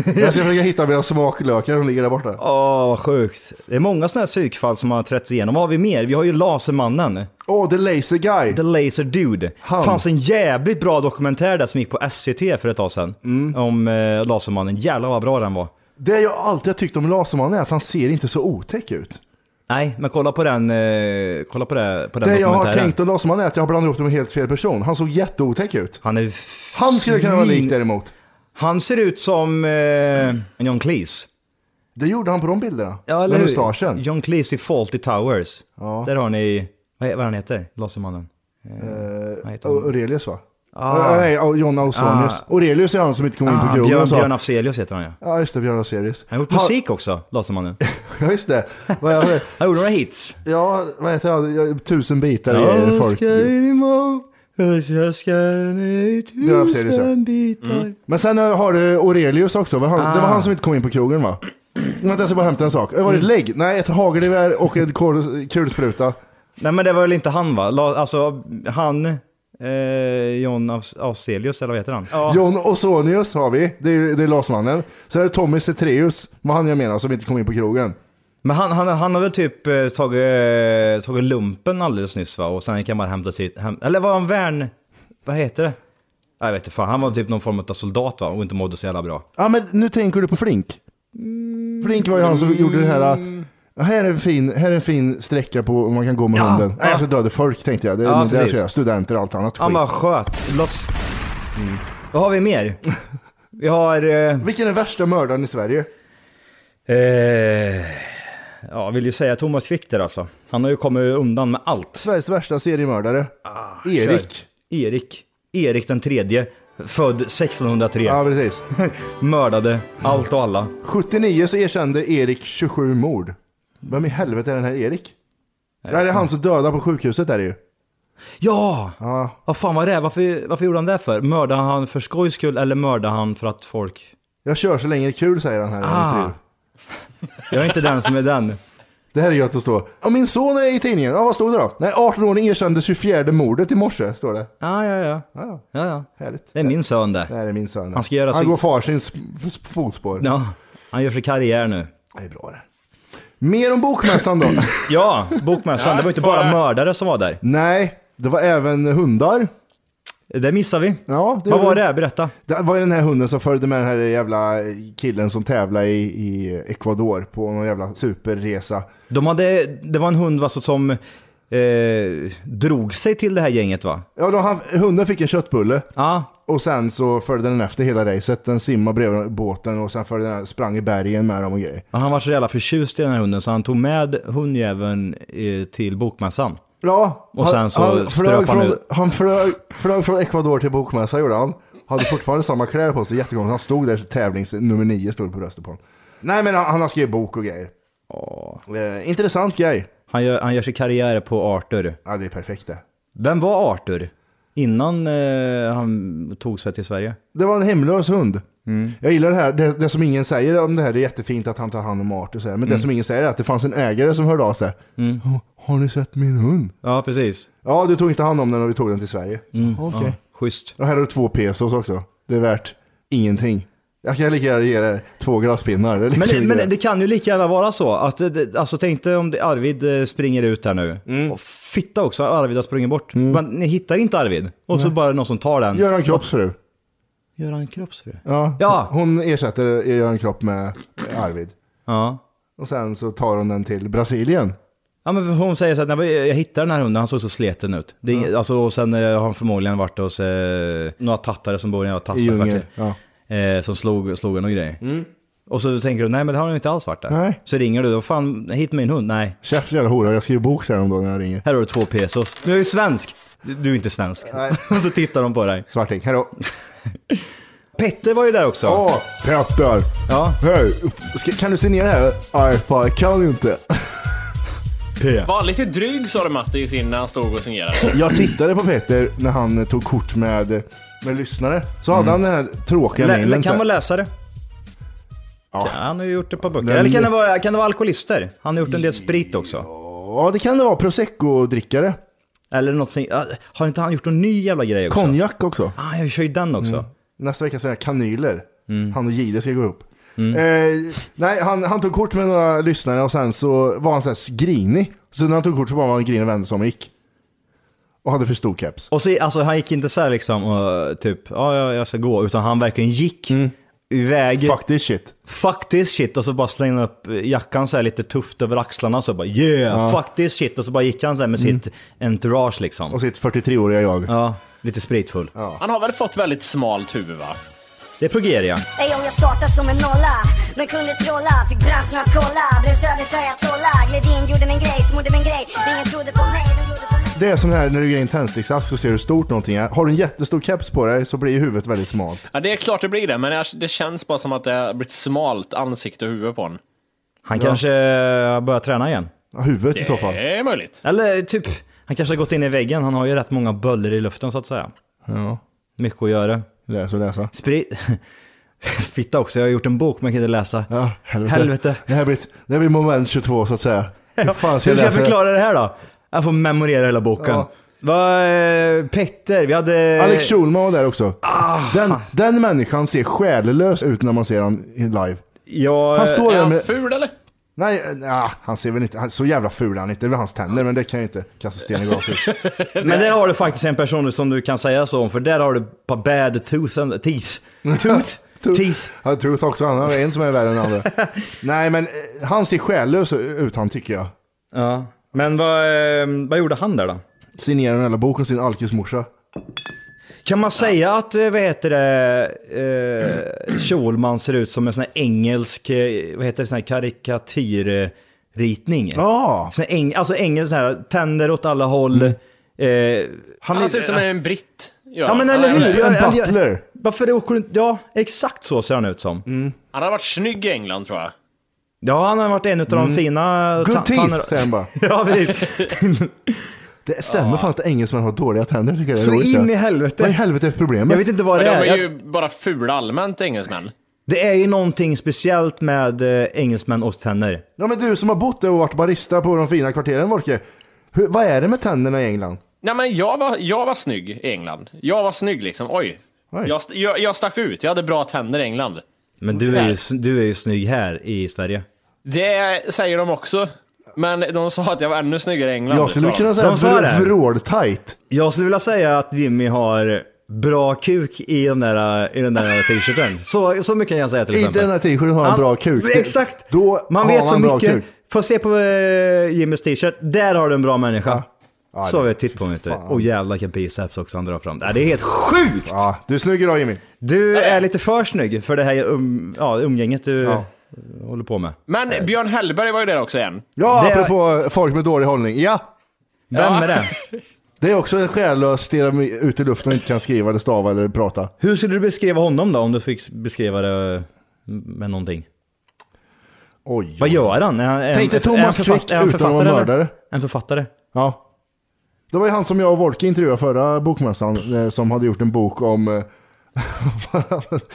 Speaker 3: Jag ska försöka hitta mina smaklökar, de ligger där borta.
Speaker 7: Åh, vad sjukt. Det är många sådana här psykfall som har trätts igenom. Vad har vi mer? Vi har ju Lasermannen.
Speaker 3: Åh, oh, The Laser Guy.
Speaker 7: The Laser Dude.
Speaker 3: Han.
Speaker 7: fanns en jävligt bra dokumentär där som gick på SVT för ett tag sedan.
Speaker 3: Mm.
Speaker 7: Om eh, Lasermannen. Jävlar vad bra den var.
Speaker 3: Det jag alltid har tyckt om Lasermannen är att han ser inte så otäck ut.
Speaker 7: Nej, men kolla på den, eh, kolla på det, på den
Speaker 3: Det jag har
Speaker 7: dokumentären.
Speaker 3: tänkt om Lasermannen är att jag har blandat ihop det med helt fel person. Han såg jätteotäck ut.
Speaker 7: Han är...
Speaker 3: Han skulle kunna vara lik
Speaker 7: svin-
Speaker 3: däremot.
Speaker 7: Han ser ut som eh, John Cleese.
Speaker 3: Det gjorde han på de bilderna.
Speaker 7: Ja,
Speaker 3: med
Speaker 7: hur?
Speaker 3: mustaschen.
Speaker 7: John Cleese i Faulty Towers.
Speaker 3: Ja.
Speaker 7: Där har ni, vad, är- vad han heter, Lasermannen? Eh,
Speaker 3: Eh,
Speaker 7: vad heter han?
Speaker 3: Aurelius va?
Speaker 7: Ah.
Speaker 3: Nej, och John Ausonius.
Speaker 7: Ah.
Speaker 3: Aurelius är han som inte kom in på
Speaker 7: Ah,
Speaker 3: krogen
Speaker 7: Björn,
Speaker 3: och sa...
Speaker 7: Björn Afzelius heter han ja.
Speaker 3: Ja, just det, Björn Afzelius.
Speaker 7: Han har gjort musik också, Lasermannen.
Speaker 3: Ja, just det. Vad jag-
Speaker 7: Han gjorde några hits.
Speaker 3: Ja, vad heter han? Ja, Tusen bitar i folk.
Speaker 7: Eskimo, jag ska ner i
Speaker 3: Björn Afzelius, ja.
Speaker 7: bitar.
Speaker 3: Men sen eh, har du Aurelius också. men Han, Det var
Speaker 7: Ah. Mm.
Speaker 3: han som inte kom in på krogen va? Vänta, jag ska bara hämta en sak. Var det ett lägg? Nej, ett hagelgevär och en kol- kulspruta.
Speaker 7: Nej men det var väl inte han va? La, alltså han, eh, John Af- Afzelius eller vad heter han? Ja.
Speaker 3: John Osonius har vi. Det är, det är Lasermannen. Sen är det Tommy Cetreus. Vad han jag menar som inte kom in på krogen.
Speaker 7: Men han, han, han har väl typ eh, tagit, eh, tagit lumpen alldeles nyss va? Och sen gick han bara hämta sitt hem, Eller var han värn... Vad heter det? Jag vet inte, fan. Han var typ någon form av soldat va? Och inte mådde så jävla bra.
Speaker 3: Ja, men nu tänker du på Flink. Flink var ju han som gjorde det här. äh, Här är en fin, här är en fin sträcka på om man kan gå med hunden. Nej, jag ska döda folk tänkte jag. Det,
Speaker 7: Ja,
Speaker 3: ja, det
Speaker 7: precis.
Speaker 3: ska jag. Studenter och allt annat
Speaker 7: Han bara
Speaker 3: skit.
Speaker 7: sköt loss. Vad har vi mer? Vi har... Eh,
Speaker 3: Vilken är värsta mördaren i Sverige?
Speaker 7: eh, ja, vill ju säga Thomas Quick där alltså. Han har ju kommit undan med allt.
Speaker 3: Sveriges värsta seriemördare. Erik.
Speaker 7: Ah, Kör. Erik. Erik den tredje. Född 1603.
Speaker 3: Ja, precis.
Speaker 7: Mördade allt och alla.
Speaker 3: 79 så erkände Erik 27 mord. Vem i helvete är den här Erik? Det här är han som dödade på sjukhuset där ju.
Speaker 7: Ja!
Speaker 3: Ja,
Speaker 7: Vad fan var det? Varför, varför gjorde han det för? Mördade han för skojs skull eller mördade han för att folk...
Speaker 3: jag kör så länge det är kul säger han här i
Speaker 7: Ah.
Speaker 3: intervjun.
Speaker 7: Jag är inte den som är den.
Speaker 3: Det här är gött att stå. Ja, min son är i tidningen. Ja, vad stod det då? Nej, 18-åring erkände 24 mordet i morse, står det.
Speaker 7: Ja, ja, ja.
Speaker 3: Ja,
Speaker 7: ja, ja.
Speaker 3: härligt.
Speaker 7: Det är min son det.
Speaker 3: Det här är min son.
Speaker 7: Han ska göra
Speaker 3: Han
Speaker 7: sin-
Speaker 3: går farsins f- fotspår.
Speaker 7: Ja, han gör sig karriär nu.
Speaker 3: Det är bra det. Mer om bokmässan då.
Speaker 7: Ja, bokmässan. Det var ju inte bara mördare som var där.
Speaker 3: Nej, det var även hundar.
Speaker 7: Det missar vi.
Speaker 3: Ja,
Speaker 7: Vad var det? Berätta.
Speaker 3: Det var ju den här hunden som följde med den här jävla killen som tävlade i, i Ecuador på någon jävla superresa.
Speaker 7: De hade, det var en hund va, så- som eh, drog sig till det här gänget va?
Speaker 3: Ja, då han, hunden fick en köttbulle. Och sen så följde den efter hela racet. Den simmade bredvid båten och sen följde den, sprang i bergen med dem och grejer.
Speaker 7: Och han var så jävla förtjust i den här hunden så han tog med hundjäveln eh, till bokmässan.
Speaker 3: Ja,
Speaker 7: Och sen så
Speaker 3: han,
Speaker 7: ströp
Speaker 3: flög,
Speaker 7: han
Speaker 3: från,
Speaker 7: ut.
Speaker 3: han flög, flög från Ecuador till bokmässa gjorde han. Hade fortfarande samma kläder på sig, jättekonstigt. Han stod där, tävlings nummer nio stod på bröstet på honom. Nej men han, han har skrivit bok och grejer. Eh, intressant grej.
Speaker 7: Han gör, han gör sin karriär på Arthur.
Speaker 3: Ja, det är perfekt det.
Speaker 7: Vem var Arthur? Innan eh, han tog sig till Sverige?
Speaker 3: Det var en hemlös hund.
Speaker 7: Mm.
Speaker 3: Jag gillar det här, det, det som ingen säger om det här, det är jättefint att han tar hand om Arthur så här. Men det
Speaker 7: Mm.
Speaker 3: som ingen säger är att det fanns en ägare som hörde av sig. "Har- Har ni sett min hund?
Speaker 7: Ja, precis.
Speaker 3: Ja, du tog inte hand om den och vi tog den till Sverige. Okej.
Speaker 7: Mm. Ja, schysst.
Speaker 3: Och här har du två pesos också. Det är värt ingenting. Jag kan lika gärna ge dig två glasspinnar. Det är lika
Speaker 7: Men,
Speaker 3: mycket
Speaker 7: men
Speaker 3: värt.
Speaker 7: det kan ju lika gärna vara så att, det- det- alltså tänk dig om det- Arvid eh, springer ut här nu.
Speaker 3: Mm.
Speaker 7: Och fitta också, Arvid har sprungit bort. Men ni hittar inte Arvid. Och så
Speaker 3: Nej.
Speaker 7: bara någon som tar den.
Speaker 3: Göran Kropps fru.
Speaker 7: Göran Kroppsfru.
Speaker 3: Ja.
Speaker 7: Ja.
Speaker 3: Hon ersätter Göran Kropp med Arvid.
Speaker 7: Ja.
Speaker 3: Och sen så tar hon den till Brasilien.
Speaker 7: Ja men hon säger så att när vi- jag hittade den här hunden, han såg så sleten ut. Det är, ing- alltså, och sen eh, har han förmodligen varit hos eh, några tattare som bor i några
Speaker 3: I djungeln, Mm.
Speaker 7: tattarkvarter. Eh, som slog, slog honom och grejer. Och så tänker du, nej men det har han ju inte alls varit där.
Speaker 3: Nej.
Speaker 7: Så ringer du, vad fan, hit min hund, nej.
Speaker 3: Käft jävla hora, jag skriver bok sen om dagen när jag ringer.
Speaker 7: Här har du två pesos. Men jag är ju svensk. Du, du är inte svensk. och så tittar de på dig.
Speaker 3: Svarting, hejdå.
Speaker 7: Petter var ju där också.
Speaker 3: Ja, Petter!
Speaker 7: Ja.
Speaker 3: Hej, ska, kan du se ner här? Nej, fan jag kan ju inte.
Speaker 6: Var lite dryg sa du Mattis innan han stod och signerade.
Speaker 3: Jag tittade på Petter när han eh, tog kort med, med lyssnare. Så hade han den här tråkiga
Speaker 7: Mm. Lä-
Speaker 3: mailen.
Speaker 7: det
Speaker 3: så här.
Speaker 7: kan vara läsare. Ja. Han har ju gjort ett par böcker. Eller kan det, vara, kan det vara alkoholister? Han har gjort en del sprit också.
Speaker 3: Ja, det kan det vara. Prosecco-drickare.
Speaker 7: Eller något sånt. Har inte han gjort någon ny jävla grej också?
Speaker 3: Konjak också.
Speaker 7: Ah, jag kör ju den också.
Speaker 3: Mm. Nästa vecka så är jag kanyler.
Speaker 7: Mm.
Speaker 3: Han och Gide ska gå upp. Eh, nej, han, han tog kort med några lyssnare och sen så var han så här grinig. Så när han tog kort så var han grinig och vände sig om och gick. Och hade för stor keps.
Speaker 7: Och så, alltså han gick inte så här liksom och typ, ja jag, jag ska gå, utan han verkligen gick iväg.
Speaker 3: Fuck this shit.
Speaker 7: Fuck this shit och så bara slängde han upp jackan så här lite tufft över axlarna och så bara yeah,
Speaker 3: Ja.
Speaker 7: fuck this shit och så bara gick han så här med
Speaker 3: Mm.
Speaker 7: sitt entourage liksom.
Speaker 3: Och sitt 43-åriga jag.
Speaker 7: Ja, lite spritfull.
Speaker 6: Han har väl fått väldigt smalt huvud va?
Speaker 7: Det är Progeria.
Speaker 15: Ey om jag startade som en nolla Men kunde trolla, fick branschen att kolla Blev södertjej att trolla Gled in, gjorde min grej, smorde min grej Ingen trodde på mig, de gjorde på mig
Speaker 3: Det är som det här när du ger in tändsticksask så ser du hur stort någonting är. Har du en jättestor keps på dig så blir ju huvudet väldigt smalt.
Speaker 6: Ja, det är klart det blir det, men jag- det känns bara som att det har blivit smalt ansikte och huvud på honom.
Speaker 7: Han kanske börjar träna igen.
Speaker 3: Ja, huvudet
Speaker 6: i så fall. Det är möjligt.
Speaker 7: Eller typ, han kanske har gått in i väggen, han har ju rätt många böller i luften så att säga.
Speaker 3: Ja.
Speaker 7: Mycket att göra.
Speaker 3: Läsa och läsa.
Speaker 7: Sprit... Fitta också, jag har gjort en bok men jag kan inte läsa.
Speaker 3: Ja, helvete.
Speaker 7: Helvete.
Speaker 3: Det här blir, ett- det här blir moment 22 så att säga. Hur fan
Speaker 7: Hur ska jag
Speaker 3: läsa det?
Speaker 7: förklara det här då? Jag får memorera hela boken.
Speaker 3: Ja.
Speaker 7: Vad, eh, Petter, vi hade...
Speaker 3: Alex Schulman var där också.
Speaker 7: Ah.
Speaker 3: Den, den människan ser själlös ut när man ser han i live.
Speaker 7: Eh, Ja,
Speaker 3: han står
Speaker 6: är
Speaker 3: där
Speaker 6: han
Speaker 3: med...
Speaker 6: ful eller?
Speaker 3: Nej, eh, nja, han ser väl inte... Han, så jävla ful är han inte. Det är väl hans tänder, men det kan ju inte kasta sten i glashus.
Speaker 7: eh, Men där har du faktiskt en person som du kan säga så om, för där har du ett par bad tooth and, teeth. Tooth? teeth.
Speaker 3: Ja, Tooth också. Han har en som är värre än andra. Nej, men eh, han ser själlös ut han tycker jag.
Speaker 7: Ja. Men vad, eh, vad gjorde han där då?
Speaker 3: Signerade den hela boken sin alkismorsa.
Speaker 7: Kan man säga att, eh, vad heter det, eh, Schulman ser ut som en sån här engelsk, eh, vad heter det, sån här karikatyrritning?
Speaker 3: Ja!
Speaker 7: Sån här eng, alltså engelsk, sån här, tänder åt alla håll. Eh,
Speaker 6: Han,
Speaker 7: är-
Speaker 6: ser ut som en britt.
Speaker 7: Ja, men eller
Speaker 6: han,
Speaker 7: hur?
Speaker 6: är-
Speaker 7: Jag- jag- Varför åker du inte... Ja, exakt så ser han ut som.
Speaker 6: Han har varit snygg i England tror jag.
Speaker 7: Ja, han har varit en av de
Speaker 6: Mm.
Speaker 7: fina...
Speaker 3: Good
Speaker 7: ta-
Speaker 3: teeth,
Speaker 7: tanner-
Speaker 3: säger han bara.
Speaker 7: ja, precis.
Speaker 3: Det stämmer fan att engelsmän har dåliga tänder tycker jag.
Speaker 7: Ah. Så
Speaker 3: det är roligt,
Speaker 7: in
Speaker 3: ja.
Speaker 7: i helvete.
Speaker 3: Vad i helvete är problemet?
Speaker 7: Jag vet inte vad
Speaker 6: Men
Speaker 7: det är.
Speaker 6: de är
Speaker 7: Jag-
Speaker 6: ju bara fula allmänt engelsmän.
Speaker 7: Det är ju någonting speciellt med eh, engelsmän och tänder.
Speaker 3: Ja men du som har bott där och varit barista på de fina kvarteren Volke. Hur, vad är det med tänderna i England?
Speaker 6: Nej men jag var, jag var snygg i England. Jag var snygg liksom, oj. Jag, st- jag, jag stack ut, jag hade bra tänder i England.
Speaker 7: Men du är, ju, s- du är ju snygg här i Sverige.
Speaker 6: Det säger de också. Men de sa att jag var ännu snyggare i England. liksom.
Speaker 3: jag skulle
Speaker 6: sa de.
Speaker 3: kunna säga
Speaker 7: De sa
Speaker 3: vr-
Speaker 7: det.
Speaker 3: vråltajt.
Speaker 7: Jag skulle vilja säga att Jimmy har bra kuk i, de där, eh, i den där t-shirten. Så, så mycket kan jag säga till
Speaker 3: I
Speaker 7: exempel.
Speaker 3: den här t-shirten har han bra kuk. Det-
Speaker 7: Exakt.
Speaker 3: då
Speaker 7: man
Speaker 3: har
Speaker 7: vet
Speaker 3: han
Speaker 7: så
Speaker 3: bra
Speaker 7: mycket.
Speaker 3: kuk.
Speaker 7: Få se på eh, Jimmys t-shirt. Där har du en bra människa.
Speaker 3: Ja,
Speaker 7: så
Speaker 3: det-
Speaker 7: har vi titt på mig. Och jävlar vilken biceps också han drar fram. Ja, Det är helt sjukt!
Speaker 3: Ja, du är snygg idag Jimmy.
Speaker 7: Du är lite för snygg för det här um, ja, umgänget du
Speaker 3: Ja.
Speaker 7: håller på med.
Speaker 6: Men Björn Hellberg var ju där också igen.
Speaker 3: Ja,
Speaker 6: Det-
Speaker 3: apropå folk med dålig hållning. Ja!
Speaker 6: Vem Ja. är det?
Speaker 3: Det är också en själlös, stirrar ut i luften och inte kan skriva eller stava eller prata.
Speaker 7: Hur skulle du beskriva honom då om du fick beskriva det eh, med någonting?
Speaker 3: Oj.
Speaker 7: Vad gör han? Är han är
Speaker 3: Tänk dig
Speaker 7: han- är han
Speaker 3: Thomas
Speaker 7: författ-
Speaker 3: Quick
Speaker 7: är han
Speaker 3: utan att vara
Speaker 7: författare, eller?
Speaker 3: mördare.
Speaker 7: En författare.
Speaker 3: Ja. Det var ju han som jag och Wolke intervjuade förra bokmässan eh, som hade gjort en bok om... eh,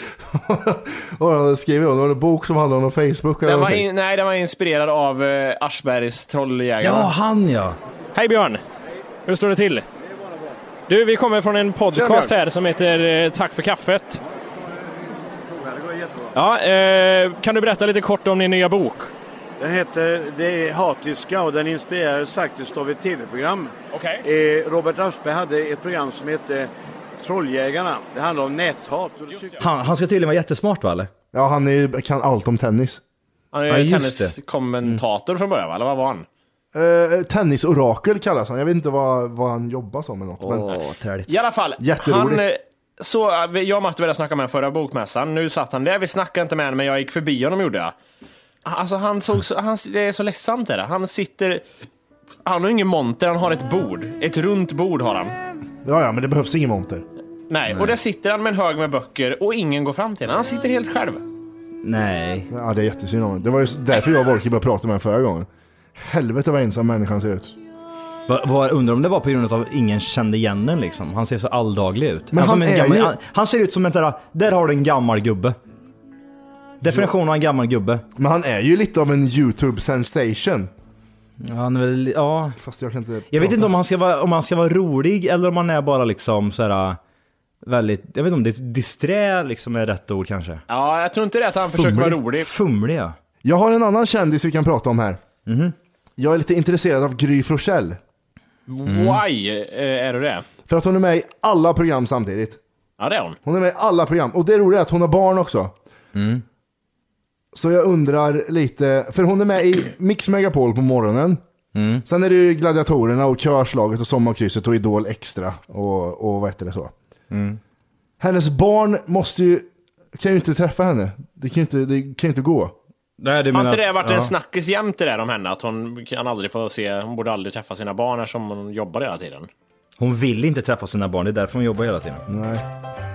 Speaker 3: Vad han hade skrivit om? Det var en bok som handlade om Facebook eller
Speaker 6: Den var
Speaker 3: någonting.
Speaker 6: in, nej, den var inspirerad av eh, Aschbergs Trolljägare.
Speaker 7: Ja, han ja.
Speaker 16: Hej Björn! Hur står det till? Du, vi kommer från en podcast
Speaker 6: Tja, Björn.
Speaker 16: här som heter eh, Tack för kaffet. Ja, eh, kan du berätta lite kort om din nya bok?
Speaker 9: Den heter Det är hattyska och den inspirerades faktiskt av ett tv-program. Eh, Robert Aschberg hade ett program som hette Trolljägarna. Det handlar om näthat. Och det tyckte-
Speaker 7: Han, han ska tydligen vara jättesmart va eller?
Speaker 3: Ja, han är, ju- kan allt om tennis.
Speaker 6: Han är
Speaker 7: Ja,
Speaker 6: ju
Speaker 7: just
Speaker 6: tenniskommentator från början, va? eller vad var han?
Speaker 3: Eh, tennisorakel kallas han. Jag vet inte vad, vad han jobbar som eller något.
Speaker 7: men...
Speaker 6: I alla fall,
Speaker 3: Jätteroligt.
Speaker 6: han... eh, Så, eh, vi- jag och Matti började snacka med honom förra bokmässan. Nu satt han där, vi snackade inte med honom, men jag gick förbi honom gjorde jag. Alltså han såg så, han, det är så ledsamt det där. Han sitter... Han har ingen monter, han har ett bord. Ett runt bord har han.
Speaker 3: Ja, ja, men det behövs ingen monter.
Speaker 6: Nej, och där sitter han med en hög med böcker och ingen går fram till honom. Han sitter helt själv.
Speaker 7: Nej.
Speaker 3: Ja, det är jättesynd om honom. Det var ju därför jag och Wolke började prata med honom förra gången. Helvete vad ensam människan ser ut.
Speaker 7: Va, va, undrar om det var på grund av att ingen kände igen den liksom. Han ser så alldaglig ut.
Speaker 3: Men
Speaker 7: han, som
Speaker 3: han
Speaker 7: en
Speaker 3: är
Speaker 7: gammal,
Speaker 3: ju-
Speaker 7: han, han ser ut som en sådär, där har du en gammal gubbe. Definition av en gammal gubbe.
Speaker 3: Men han är ju lite av en YouTube sensation.
Speaker 7: Ja, han är väl, ja.
Speaker 3: Fast jag kan inte...
Speaker 7: Jag vet inte om han ska vara, om han ska vara rolig eller om han är bara liksom sådär väldigt, jag vet inte om det disträ liksom är rätt ord kanske.
Speaker 6: Ja, jag tror inte det att han försöker vara rolig.
Speaker 7: Fumlig ja.
Speaker 3: Jag har en annan kändis vi kan prata om här. Jag är lite intresserad av Gry Forssell.
Speaker 7: Mm.
Speaker 6: Why eh, är du det?
Speaker 3: För att hon är med i alla program samtidigt.
Speaker 6: Ja, det är hon.
Speaker 3: Hon är med i alla program. Och det roliga är att hon har barn också. Så jag undrar lite, för hon är med i Mix Megapol på morgonen. Sen är det ju Gladiatorerna och Körslaget och Sommarkrysset och Idol Extra och, och vad heter det så. Hennes barn måste ju, kan ju inte träffa henne. Det kan ju inte, det kan ju inte gå.
Speaker 7: Nej, det
Speaker 6: Har inte det varit en snackis jämt det där om henne? Att hon kan aldrig få se, hon borde aldrig träffa sina barn eftersom hon jobbar hela tiden.
Speaker 7: Hon vill inte träffa sina barn, det är därför hon jobbar hela tiden.
Speaker 3: Nej.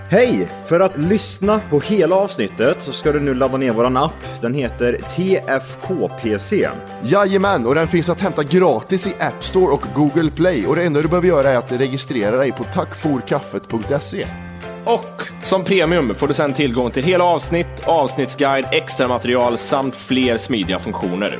Speaker 17: Hej! För att lyssna på hela avsnittet så ska du nu ladda ner våran app. Den heter TFKPC.
Speaker 18: Jajamän, och den finns att hämta gratis i App Store och Google Play. Och det enda du behöver göra är att registrera dig på tackforkaffet.se.
Speaker 6: Och som premium får du sedan tillgång till hela avsnitt, avsnittsguide, extra material samt fler smidiga funktioner.